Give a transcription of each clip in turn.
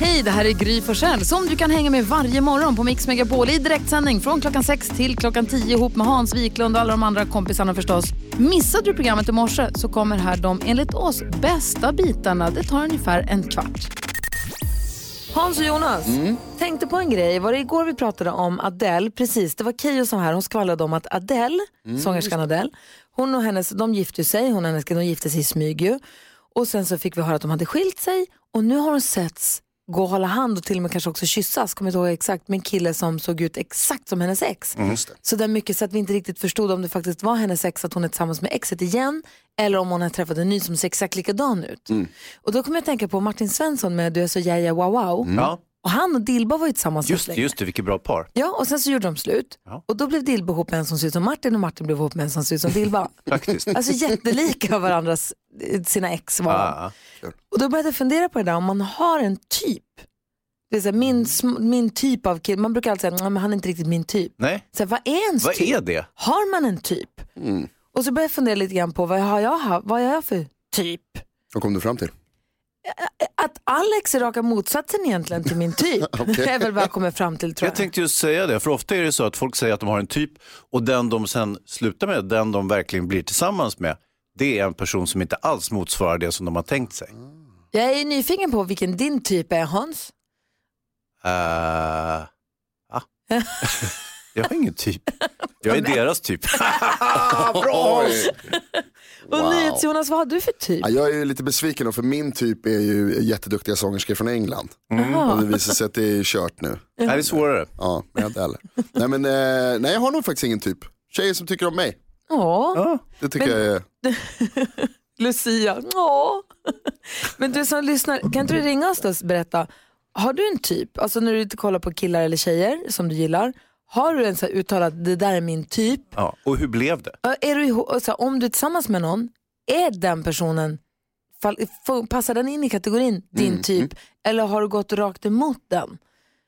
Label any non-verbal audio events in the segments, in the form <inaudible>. Hej, det här är Gry Forssell som du kan hänga med varje morgon på Mix Megapol i direktsändning från klockan 6 till klockan 10 ihop med Hans Wiklund och alla de andra kompisarna förstås. Missade du programmet i morse så kommer här de enligt oss bästa bitarna. Det tar ungefär en kvart. Hans och Jonas, tänkte på en grej. Var det igår vi pratade om Adele? Precis, det var Keyyo som var här. Hon skvallrade om att Adele, sångerskan Adele, hon och hennes, de gifte ju sig. Hon och hennes, de gifte sig i smyg ju. Och sen så fick vi höra att de hade skilt sig och nu har de setts gå och hålla hand och till och med kanske också kyssas, kommer inte ihåg exakt, med en kille som såg ut exakt som hennes ex. Mm. Så där mycket så att vi inte riktigt förstod om det faktiskt var hennes ex, att hon är tillsammans med exet igen, eller om hon har träffat en ny som ser exakt likadan ut. Mm. Och då kommer jag att tänka på Martin Svensson med Du är så jaja wow wow. Mm. Ja, Och han och Dilba var ju tillsammans just, rätt det, länge. just det, vilket bra par. Ja, och sen så gjorde de slut. Ja. Och då blev Dilba ihop med en som ser ut som Martin och Martin blev ihop med en som ser ut som <laughs> Dilba. Faktiskt. alltså jättelika varandras, eh, sina ex var de. Ja. Och då började jag fundera på det där om man har en typ. Det är så här, Mm. min, sm- min typ av kille, man brukar alltid säga "Nej, men han är inte riktigt min typ. Nej, Så här, vad är ens vad typ? är det? Har man en typ? Och så började jag fundera lite grann på vad har jag, ha- vad har jag för typ? Vad kom du fram till? Att Alex är raka motsatsen egentligen till min typ. Det är väl vad jag kommer fram till tror Jag jag. tänkte just säga det, för ofta är det så att folk säger att de har en typ och den de sen slutar med, den de verkligen blir tillsammans med, det är en person som inte alls motsvarar det som de har tänkt sig. Jag är nyfiken på vilken din typ är Hans. Eh, ah. jag har ingen typ. Jag är deras typ. Bra! Oj. Och NyhetsJonas, vad har du för typ? Ja, jag är ju lite besviken då, för min typ är ju jätteduktiga sångerskor från England. Mm. Och det visar sig att det är kört nu. Det här är svårare. Ja, men jag inte heller. nej, men, eh, nej, jag har nog faktiskt ingen typ. Tjejer som tycker om mig, Ja, det tycker jag är... Lucia. Ja. <laughs> Men du som lyssnar, kan inte du ringa oss då och berätta? Har du en typ, alltså när du inte kollar på killar eller tjejer som du gillar, har du en så här uttalad, det där är min typ? Ja. Och hur blev det? Ö, Är du, iho- så här, om du är tillsammans med någon, är den personen, fall, f- passar den in i kategorin din Mm, typ? Eller har du gått rakt emot den?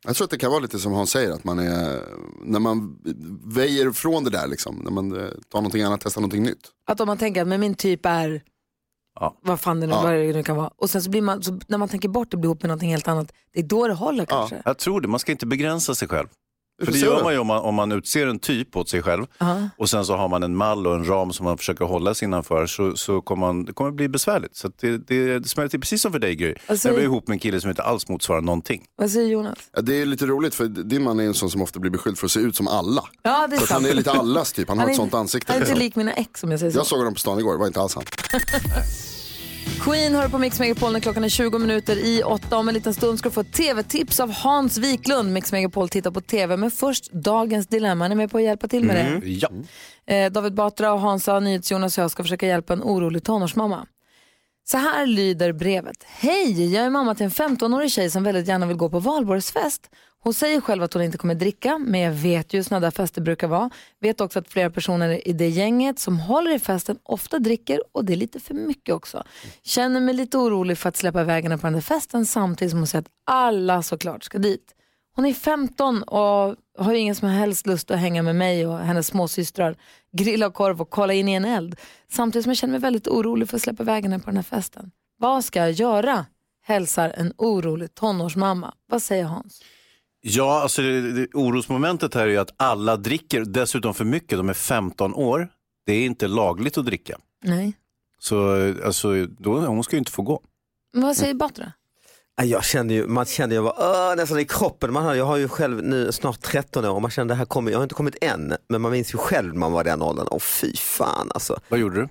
Jag tror att det kan vara lite som han säger, att man är, när man väjer från det där, liksom, när man eh, tar någonting annat, testar någonting nytt. Att om man tänker att men min typ är Ja. vad fan det nu, Ja. vad det nu kan vara. Och sen så blir man, så när man tänker bort det blir ihop med någonting helt annat, det är då det håller kanske. Jag tror det, man ska inte begränsa sig själv. För det Så- gör man ju om man, om man utser en typ åt sig själv och sen så har man en mall och en ram som man försöker hålla sig innanför så, så kommer man, det kommer bli besvärligt. Så att det, det, det smäller till precis som för dig Gry. Alltså- När du är ihop med en kille som inte alls motsvarar någonting. Vad säger Jonas? Ja, det är lite roligt, för din man är en sån som ofta blir beskylld för att se ut som alla. Ja, det är För att han sant. är lite allas typ, han har ett sånt ansikte. Han är inte liksom. lik mina ex om jag säger så. Jag såg honom på stan igår, det var inte alls han. Queen hör på Mix Megapol när klockan är 20 minuter i åtta. Om en liten stund ska du få ett tv-tips av Hans Wiklund. Mix Megapol tittar på tv, men först dagens dilemma. Han är med på att hjälpa till med det. Ja. Eh, David Batra och Hansa, NyhetsJonas och jag ska försöka hjälpa en orolig tonårsmamma. Så här lyder brevet. Hej, jag är mamma till en 15-årig tjej som väldigt gärna vill gå på valborgsfest. Hon säger själv att hon inte kommer dricka, men jag vet ju hur sådana där fester brukar vara. Vet också att flera personer i det gänget som håller i festen ofta dricker och det är lite för mycket också. Känner mig lite orolig för att släppa iväg henne på den där festen samtidigt som hon säger att alla såklart ska dit. Hon är 15 och har ju ingen som helst lust att hänga med mig och hennes småsystrar, grilla korv och kolla in i en eld. Samtidigt som jag känner mig väldigt orolig för att släppa iväg henne på den här festen. Vad ska jag göra? Hälsar en orolig tonårsmamma. Vad säger Hans? Ja, alltså det, det, orosmomentet här är ju att alla dricker, dessutom för mycket. De är 15 år. Det är inte lagligt att dricka. Nej. Så eh, alltså, då, hon ska ju inte få gå. Men vad säger Batra? Ja, Jag kände ju, man kände jag var "Åh", nästan i kroppen. Man har, jag har ju själv nu snart 13 år och man kände det här kommer, jag har inte kommit än, men man minns ju själv när man var i den åldern. Och fy fan alltså. Vad gjorde du?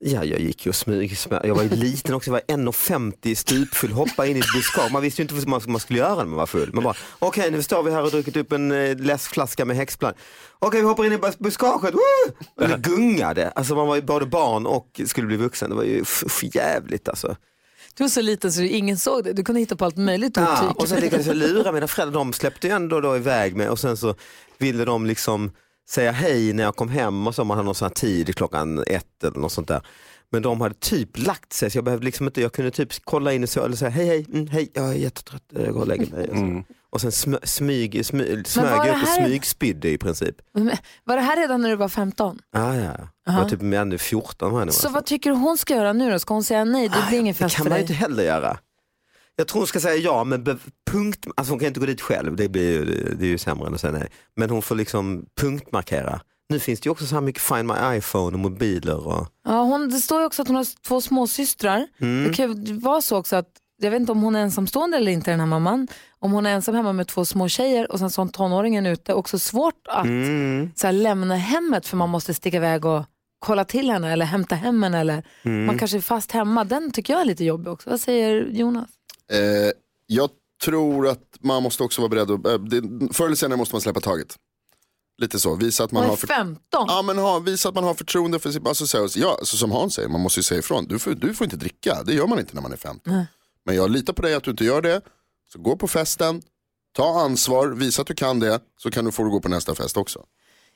Ja, jag gick ju och smög, smög. Jag var ju liten också, jag var 1,50 stupfull, hoppade in i ett buskage. Man visste ju inte vad man- vad man skulle göra när man var full. Man bara, okej nu står vi här och druckit upp en eh, läskflaska med häxplan. Okej vi hoppar in i bas- buskaget, woo! Och det gungade. Alltså man var ju både barn och skulle bli vuxen. Det var ju f- f- jävligt alltså. Du var så liten så ingen såg det. Du kunde hitta på allt möjligt Ja, Ah, och sen lyckades jag liksom lura mina föräldrar, de släppte ju ändå då iväg mig och sen så ville de liksom säga hej när jag kom hem och så man hade någon sån här tid klockan ett eller något sånt där. Men de hade typ lagt sig så jag behövde liksom inte, jag kunde typ kolla in och så, eller säga hej hej, mm, hej, jag är jättetrött, jag går och lägger mig. Och, så. och sen smö, smyg, smyg, var smög det jag upp och här- smygspydde i princip. Var det här redan när du var 15? Ah, ja. Jag var typ ännu 14 var jag nog. Så vad tycker du hon ska göra nu då? Ska hon säga nej? Det blir ingen Ah, Det fest kan för man ju dig. inte heller göra. Jag tror hon ska säga ja, men be- punkt, alltså hon kan inte gå dit själv, det, blir ju, det är ju sämre än att säga nej. Men hon får liksom punktmarkera. Nu finns det ju också så här mycket Find My iPhone och mobiler. Och... Ja, hon, det står ju också att hon har två småsystrar. Mm. Det kan ju vara så också att, jag vet inte om hon är ensamstående eller inte den här mamman. Om hon är ensam hemma med två små tjejer och sen så har hon tonåringen ute, också svårt att Mm. så här, lämna hemmet för man måste sticka iväg och kolla till henne eller hämta hem henne eller Mm. man kanske är fast hemma. Den tycker jag är lite jobbig också. Vad säger Jonas? Eh, jag tror att man måste också vara beredd att, eh, det, förr eller senare måste man släppa taget. Lite så, visa att man Hon har är 15. Ja, men ha, visa att man har förtroende för sin, alltså, så, här, ja, så som Hans säger, man måste ju säga ifrån. Du får, du får inte dricka, det gör man inte när man är 15. Men jag litar på dig att du inte gör det. Så gå på festen, ta ansvar, visa att du kan det, så kan du få gå på nästa fest också.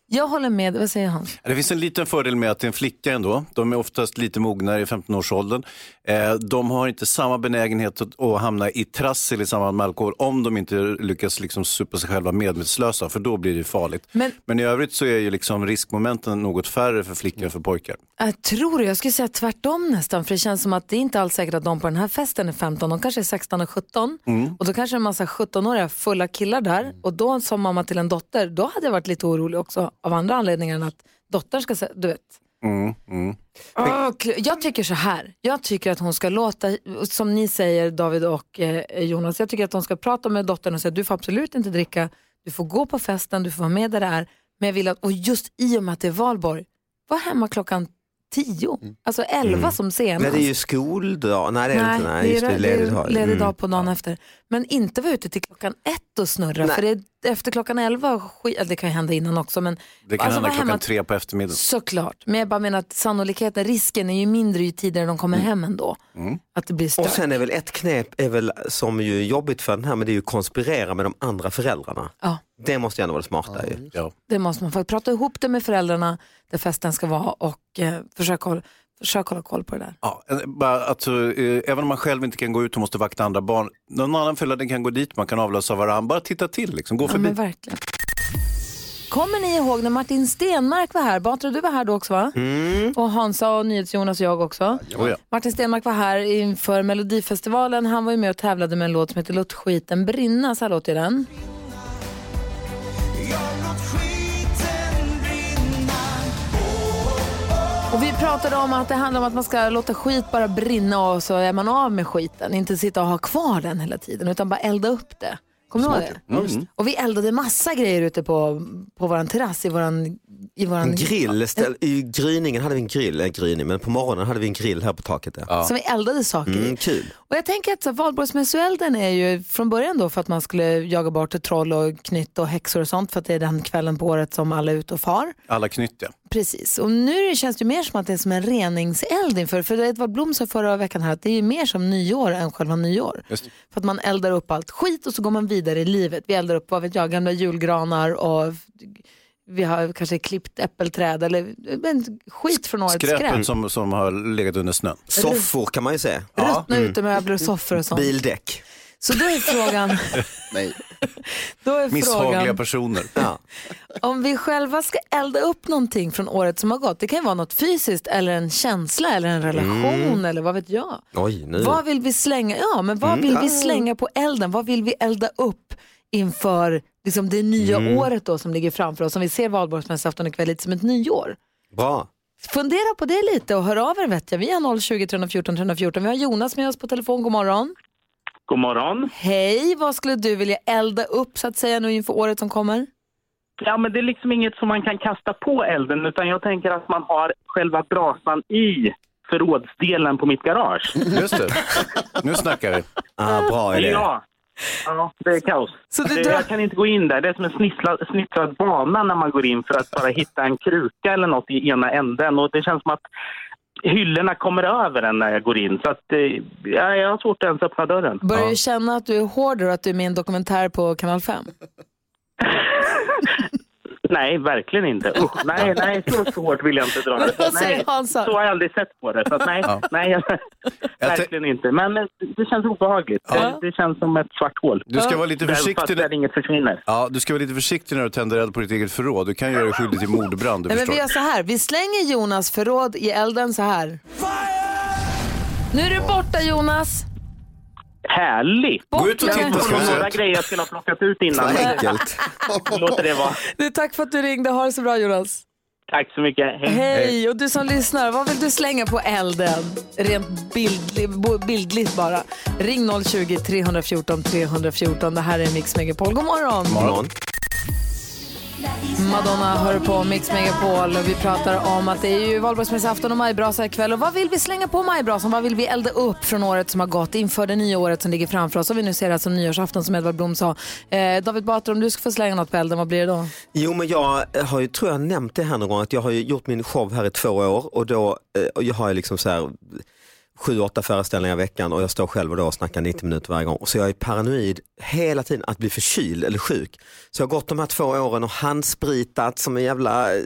Jag håller med, vad säger han? Ja, Det finns en liten fördel med att det är en flicka ändå. De är oftast lite mognare i 15-årsåldern. Eh, De har inte samma benägenhet att, att hamna i trassel i samband med alkohol om de inte lyckas liksom supa sig själva medvetslösa, för då blir det farligt. Men- Men, i övrigt så är ju liksom riskmomenten något färre för flickor än för pojkar. Jag tror det. Jag skulle säga tvärtom nästan. För det känns som att det är inte alls säkert att de på den här festen är 15. De kanske är 16 och 17. Och då kanske det är en massa 17-åriga fulla killar där. Och då som mamma till en dotter, då hade jag varit lite orolig också av andra anledningar än att dottern ska säga, du vet. Mm, Åh, kl- Ah, jag tycker så här. Jag tycker att hon ska låta, som ni säger David och eh, Jonas, jag tycker att hon ska prata med dottern och säga du får absolut inte dricka, du får gå på festen, du får vara med där det är. Men jag vill att, och just i och med att det är valborg, var hemma klockan tio, alltså elva som senast. Mm. Nej, det är ju skoldag, nej det är det inte, nej, just det, det är ledigt har Mm. ledig dag på dagen efter. Men inte vara ute till klockan ett och snurra, Nej. för det är efter klockan elva, skit, eller det kan ju hända innan också, men Det kan alltså hända vara hemma klockan tre på eftermiddagen. Såklart, men jag bara menar att sannolikheten, risken är ju mindre ju tidigare de Mm. kommer hem ändå. Att det blir Och stört. sen är väl ett knep är väl, som ju är jobbigt för den här, men det är ju att konspirera med de andra föräldrarna. Ja, Det måste ju ändå vara det smarta ju. Ja. det måste man faktiskt prata ihop det med föräldrarna där festen ska vara och eh, försöka, hålla, försöka hålla koll på det där. Ja, eh, bara att, eh, även om man själv inte kan gå ut och måste vakta andra barn, någon annan förälder kan gå dit, man kan avlösa varandra, bara titta till, liksom, gå Ja, förbi. men verkligen. Kommer ni ihåg när Martin Stenmark var här? Batra, du var här då också va? Och Hansa och NyhetsJonas och jag också. Oh, Mm. ja. Martin Stenmark var här inför Melodifestivalen. Han var ju med och tävlade med en låt som heter Låt skiten brinna. Så här låter den. Och vi pratade om att det handlar om att man ska låta skit bara brinna och så är man av med skiten. Inte sitta och ha kvar den hela tiden utan bara elda upp det. Kommer du ihåg det? Mm. Och vi eldade massa grejer ute på, på våran terrass i våran... I våran En grill, ställ, i gryningen hade vi en grill, eller gryning, men på morgonen hade vi en grill här på taket. Där. Som vi eldade saker i. Mm, kul. Och jag tänker att så här, valborgsmässoelden är ju från början då för att man skulle jaga bort troll och knytt och häxor och sånt för att det är den kvällen på året som alla är ute och far. Alla knytt, ja. Precis, och nu känns det ju mer som att det är som en reningseld inför, för Edvard Blom sa förra veckan här att det är ju mer som nyår än själva nyår. Just det. För att man eldar upp allt skit och så går man vidare i livet. Vi eldar upp, vad vet jag, gamla julgranar och vi har kanske klippt äppelträd eller men, skit från årets skräp. Skräpet som, som har legat under snön. Soffor kan man ju säga. Ruttna Mm. utemöbler och soffor och sånt. Bildäck. Så då är <laughs> frågan, Nej. då är Misshagliga frågan personer. Ja. om vi själva ska elda upp någonting från året som har gått. Det kan ju vara något fysiskt eller en känsla eller en relation Mm. eller vad vet jag. Oj, nu. Vad vill vi slänga? Ja, men vad vill vi slänga på elden? Vad vill vi elda upp inför liksom, det nya året då som ligger framför oss? Som vi ser valborgsmässoafton ikväll lite som ett nyår. Bra. Fundera på det lite och hör av er vet jag. Vi har 020 314 314. Vi har Jonas med oss på telefon. God morgon. God morgon. Hej, vad skulle du vilja elda upp så att säga nu inför året som kommer? Ja, men det är liksom inget som man kan kasta på elden utan jag tänker att man har själva brasan i förrådsdelen på mitt garage. Just det. Nu snackar vi. Ah, bra idé. Ja. ja, det är kaos. Så du Det- drar- Jag kan inte gå in där. Det är som en snitslad, snitslad bana när man går in för att bara hitta en kruka eller något i ena änden och det känns som att hyllorna kommer över en när jag går in. Så att, eh, ja, jag har svårt att ens öppna dörren. Börjar du känna att du är hårdare och att du är med i en dokumentär på kanal 5? Nej, verkligen inte. Usch, nej, nej, så, så hårt vill jag inte <laughs> dra det. Vad Nej, säger Hansa? så har jag aldrig sett på det. Så att, nej, nej jag, Jag te- verkligen inte. Men eh, det känns obehagligt. Det, det känns som ett svart hål. Du ska vara lite Även fast försiktig. där inget försvinner. Ja, du ska vara lite försiktig när du tänder eld på ditt eget förråd. Du kan göra dig skyldig till mordbrand, du Nej, men förstår. vi gör så här. Vi slänger Jonas förråd i elden så här. Nu är du borta Jonas. härligt. Gå ut och Bort titta, med- ska vi Det var se. några grejer jag skulle ha plockat ut Så innan. enkelt. Låter det vara. Du, tack för att du ringde. Ha det så bra Jonas. Tack så mycket. Hej. Hej! Och du som lyssnar, vad vill du slänga på elden? Rent bildli, bo- bildligt bara. Ring 020-314 314. Det här är Mix Megapol. God morgon! Morgon. Madonna hör på Mix Megapol och vi pratar om att det är ju valborgsmässoafton och majbrasa ikväll. Och vad vill vi slänga på majbrasan? Vad vill vi elda upp från året som har gått inför det nya året som ligger framför oss? Om vi nu ser det här som nyårsafton som Edvard Blom sa. Eh, David Batra, om du ska få slänga något på elden, vad blir det då? Jo men jag eh, har ju, tror jag har nämnt det här någon gång, att jag har ju gjort min show här i två år och då eh, och jag har jag liksom så här sju, åtta föreställningar i veckan och jag står själv och då och snackar 90 minuter varje gång. Så jag är paranoid hela tiden att bli förkyld eller sjuk. Så jag har gått de här två åren och handspritat som en jävla eh,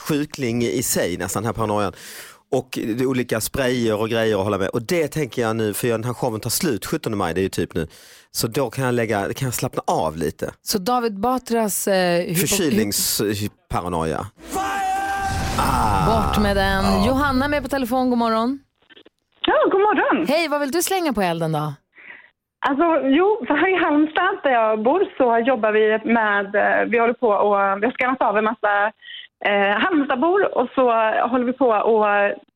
sjukling i sig nästan, den här paranoian. Och det är olika sprayer och grejer att hålla med. Och det tänker jag nu, för den här showen tar slut 17 maj, det är ju typ nu. Så då kan jag, lägga, kan jag slappna av lite. Så David Batras eh, hypo- Förkylningsparanoia. Bort med den. Johanna är med på telefon, god morgon. Ja, god morgon. Hej, vad vill du slänga på elden då? Alltså, jo, för här i Halmstad där jag bor så jobbar vi med, eh, vi håller på och vi har skannat av en massa eh, Halmstadbor och så håller vi på och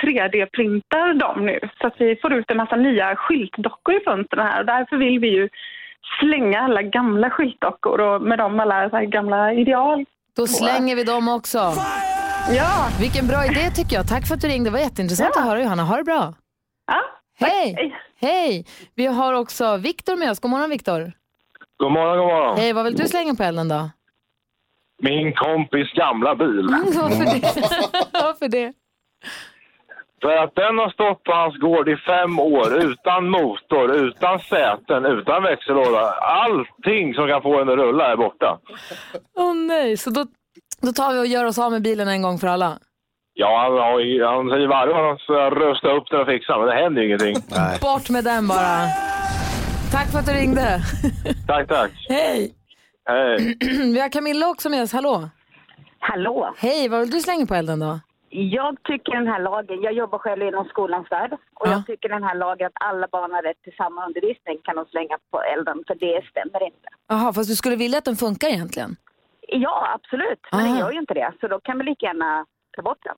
3D-printar dem nu så att vi får ut en massa nya skyltdockor i fönstren här och därför vill vi ju slänga alla gamla skyltdockor och med dem alla så här gamla ideal. Då slänger vi dem också. Ja, Vilken bra idé tycker jag. Tack för att du ringde, det var jätteintressant att höra Johanna. Ha det bra. ja. Hej! Hej! Vi har också Viktor med oss. God morgon Viktor. God morgon, god morgon. Hej, vad vill du slänga på elden då? Min kompis gamla bil. <laughs> Varför det? Varför det? För att den har stått på hans gård i fem år utan motor, utan säten, utan växellåda. Allting som kan få den att rulla är borta. Åh nej, så då, då tar vi och gör oss av med bilen en gång för alla. Ja, han, har, ju- han säger varje gång att han ska rusta upp den och fixa, men det händer ju ingenting. Bort med den bara. Tack för att du ringde. <clears throat> Tack, tack. Hej! Hej. Vi har Camilla också med oss. Hallå! Hallå! Hej, vad vill du slänga på elden då? Jag tycker den här lagen, jag jobbar själv inom skolans värld och Ja. jag tycker den här lagen att alla barn har rätt till samma undervisning kan de slänga på elden för det stämmer inte. Jaha, fast du skulle vilja att den funkar egentligen? Ja, absolut, men Ah. den gör ju inte det så då kan vi lika gärna ta bort den.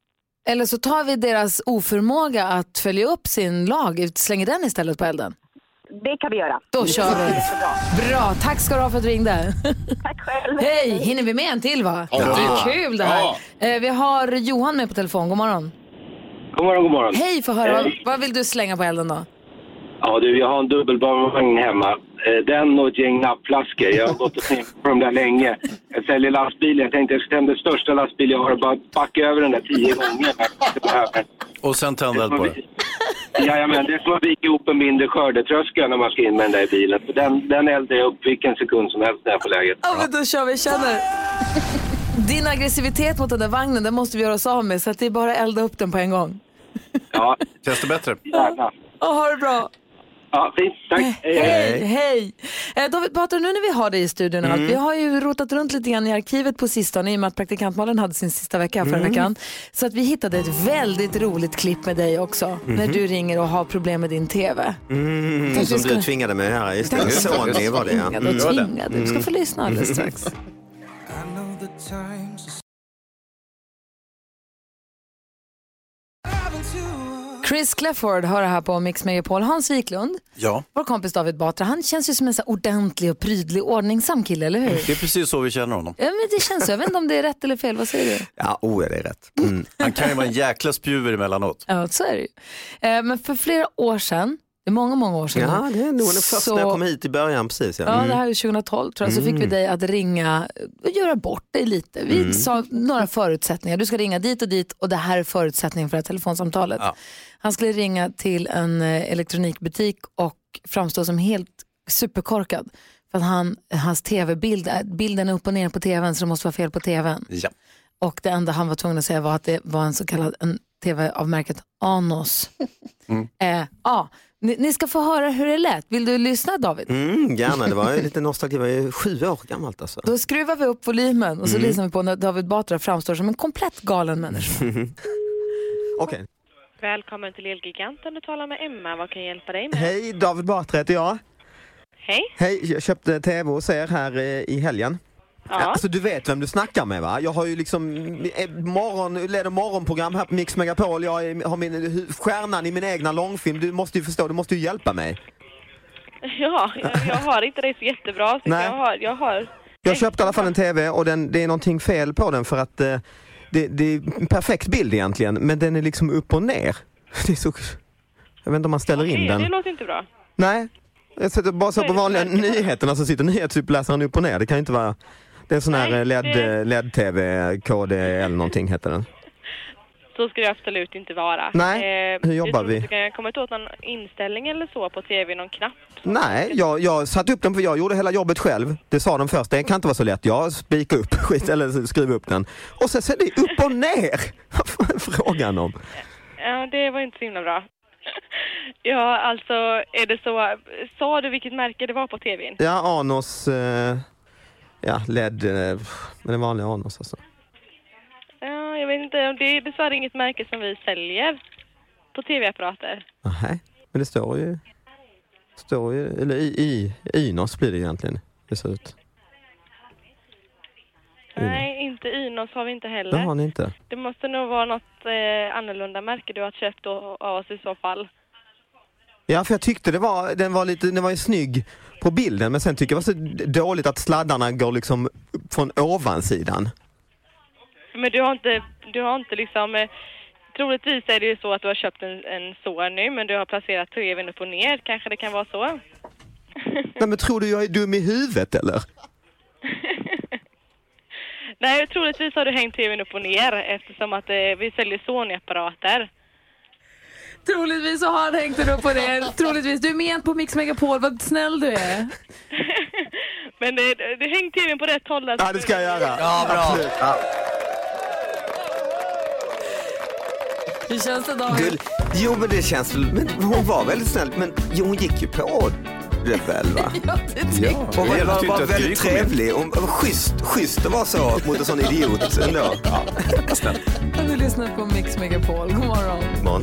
Eller så tar vi deras oförmåga att följa upp sin lag, slänger den istället på elden. Det kan vi göra. Då kör vi. Jättebra. Bra, tack ska du ha för att du ringde. <laughs> Tack själv! Hej, hinner vi med en till va? Ja. Det är kul det här. Ja. Eh, Vi har Johan med på telefon, god morgon. God morgon, god morgon. Hej, få höra, vad, vad vill du slänga på elden då? Ja, du, jag har en dubbelbarnvagn hemma. Eh, Den och ett gäng nappflaskor. Jag har gått och tänkt på dem där länge. Jag säljer lastbil. Jag tänkte jag ska ta hem den största lastbil jag har och bara backa över den där tio gånger. Jag behöver den. Och sen tända eld på Mm. det. Jajamän, det är som att vika ihop en mindre skördetröska när man ska in med den där i bilen. För den, den eldar jag upp vilken sekund som helst när jag får läget. Ja, men då kör vi, känner. Din aggressivitet mot den där vagnen, den måste vi göra oss av med så att det är bara att elda upp den på en gång. Ja, Känns det bättre? gärna. Och ha det bra. Ja, fint. Tack. Hej, Hej, hej. hej. Eh, David Batra, nu när vi har dig i studion, och Mm. allt, vi har ju rotat runt lite grann i arkivet på sistone i och med att praktikantmalen hade sin sista vecka här förra Mm. veckan. Så att vi hittade ett väldigt roligt klipp med dig också, när du ringer och har problem med din TV. Mm-hmm. Mm, som du tvingade mig här, just det. Tänkte- Sony var det Mm. Mm-hmm. ja. Tvingad och tvingad. Du ska få lyssna alldeles strax. Chris Clefford hör det här på Mix Megapol. Hans Wiklund, Ja. vår kompis David Batra, han känns ju som en så här ordentlig och prydlig, ordningsam kille, eller hur? Det är precis så vi känner honom. Ja, men det känns så. Jag vet inte om det är rätt eller fel. Vad säger du? Ja, oh, det är rätt. Mm. Han kan ju vara en jäkla spjuver emellanåt. Ja, så är det ju. Eh, Men för flera år sedan, det är många, många år sedan nu, Ja, det är nog den första Så- när jag kom hit i början, precis ja. Ja, Mm. det här är 2012 tror jag, så fick vi dig att ringa och göra bort dig lite. Vi sa några förutsättningar. Du ska ringa dit och dit och det här är förutsättningen för det här telefonsamtalet. Han skulle ringa till en eh, elektronikbutik och framstå som helt superkorkad. För att han, hans tv-bild, är- bilden är upp och ner på tvn så det måste vara fel på tvn. Ja. Och det enda han var tvungen att säga var att det var en så kallad en tv av märket Anos. Eh, ja. ni, ni ska få höra hur det lät. Vill du lyssna David? Mm, gärna, det var ju lite nostalgi, det var ju sju år gammalt alltså. Då skruvar vi upp volymen och så lyssnar vi på när David Batra framstår som en komplett galen människa. Okej. Välkommen till Elgiganten. Du talar med Emma. Vad kan jag hjälpa dig med? Hej, David Batra heter jag. Hej. Hej, jag köpte tv hos er här eh, i helgen. Ja. Alltså du vet vem du snackar med va? Jag har ju liksom eh, morgon, leder morgonprogram här på Mix Megapol, jag är- har min, hu- stjärnan i min egna långfilm. Du måste ju förstå, du måste ju hjälpa mig. Ja, jag, jag har inte det så jättebra. Så Nej. jag har, jag har... Jag köpte i alla fall en TV och den, det är någonting fel på den för att eh, det, det är en perfekt bild egentligen men den är liksom upp och ner. <laughs> Det är så, jag vet inte om man ställer in Det, det den. låter inte bra. Nej, jag sätter bara så Vad på är det vanliga för märke? nyheterna så sitter nyhetsuppläsaren upp och ner. Det kan ju inte vara... Det är en sån här Nej, eh, LED, det- eh, LED-TV, KD eller någonting heter den. Så ska det absolut inte vara. Nej, hur jag jobbar tror vi? inte Eh, Du kan komma åt någon inställning eller så på tv, någon knapp. Nej, jag, jag satte upp den för jag gjorde hela jobbet själv. Det sa den först, det kan inte vara så lätt. Jag spikade upp <laughs> skit, eller skrev upp den. Och sen så är det upp och ner! <laughs> Vad fan är frågan om? Ja, det var inte så himla bra. Ja, alltså är det så... Sa du vilket märke det var på tvn? Ja, Anos... Eh, ja, LED... Eh, men den vanliga Anos alltså. Ja, jag vet inte. Det är dessvärre inget märke som vi säljer på tv-apparater. Nej, men det står ju... Står ju... Eller i, i, Inos blir det egentligen. Det ser ut. Mm. Nej, inte Inos har vi inte Det heller. har ni inte. Det måste nog vara något eh, annorlunda märke du har köpt å- av oss i så fall. Ja, för jag tyckte det var, den var lite, den var ju snygg på bilden men sen tycker jag det var så dåligt att sladdarna går liksom upp från ovansidan. Men du har inte, du har inte liksom... Eh, troligtvis är det ju så att du har köpt en, en Sony, men du har placerat tvn upp och ner. Kanske det kan vara så? Nej men tror du jag är dum i huvudet eller? Nej, troligtvis har du hängt tvn upp och ner eftersom att eh, vi säljer Sony-apparater. Troligtvis så har han hängt den upp på det. Troligtvis. Du är med på Mix Megapol. Vad snäll du är. Men eh, du- du häng tvn på rätt håll. alltså. Ja det ska jag göra. Ja, bra. Absolut. Ja. Hur känns det David? Gull. Jo men det känns väl, men hon var väldigt snäll men jo, hon gick ju på det väl va? <laughs> Ja, det tycker jag. Hon Det hjälpte var, var, ju var inte att väldigt Gry kom in. trevlig, hon var schysst, schysst att vara så mot en sån idiot ändå. Ja. Du lyssnar på Mix Megapol. God morgon. Imorgon.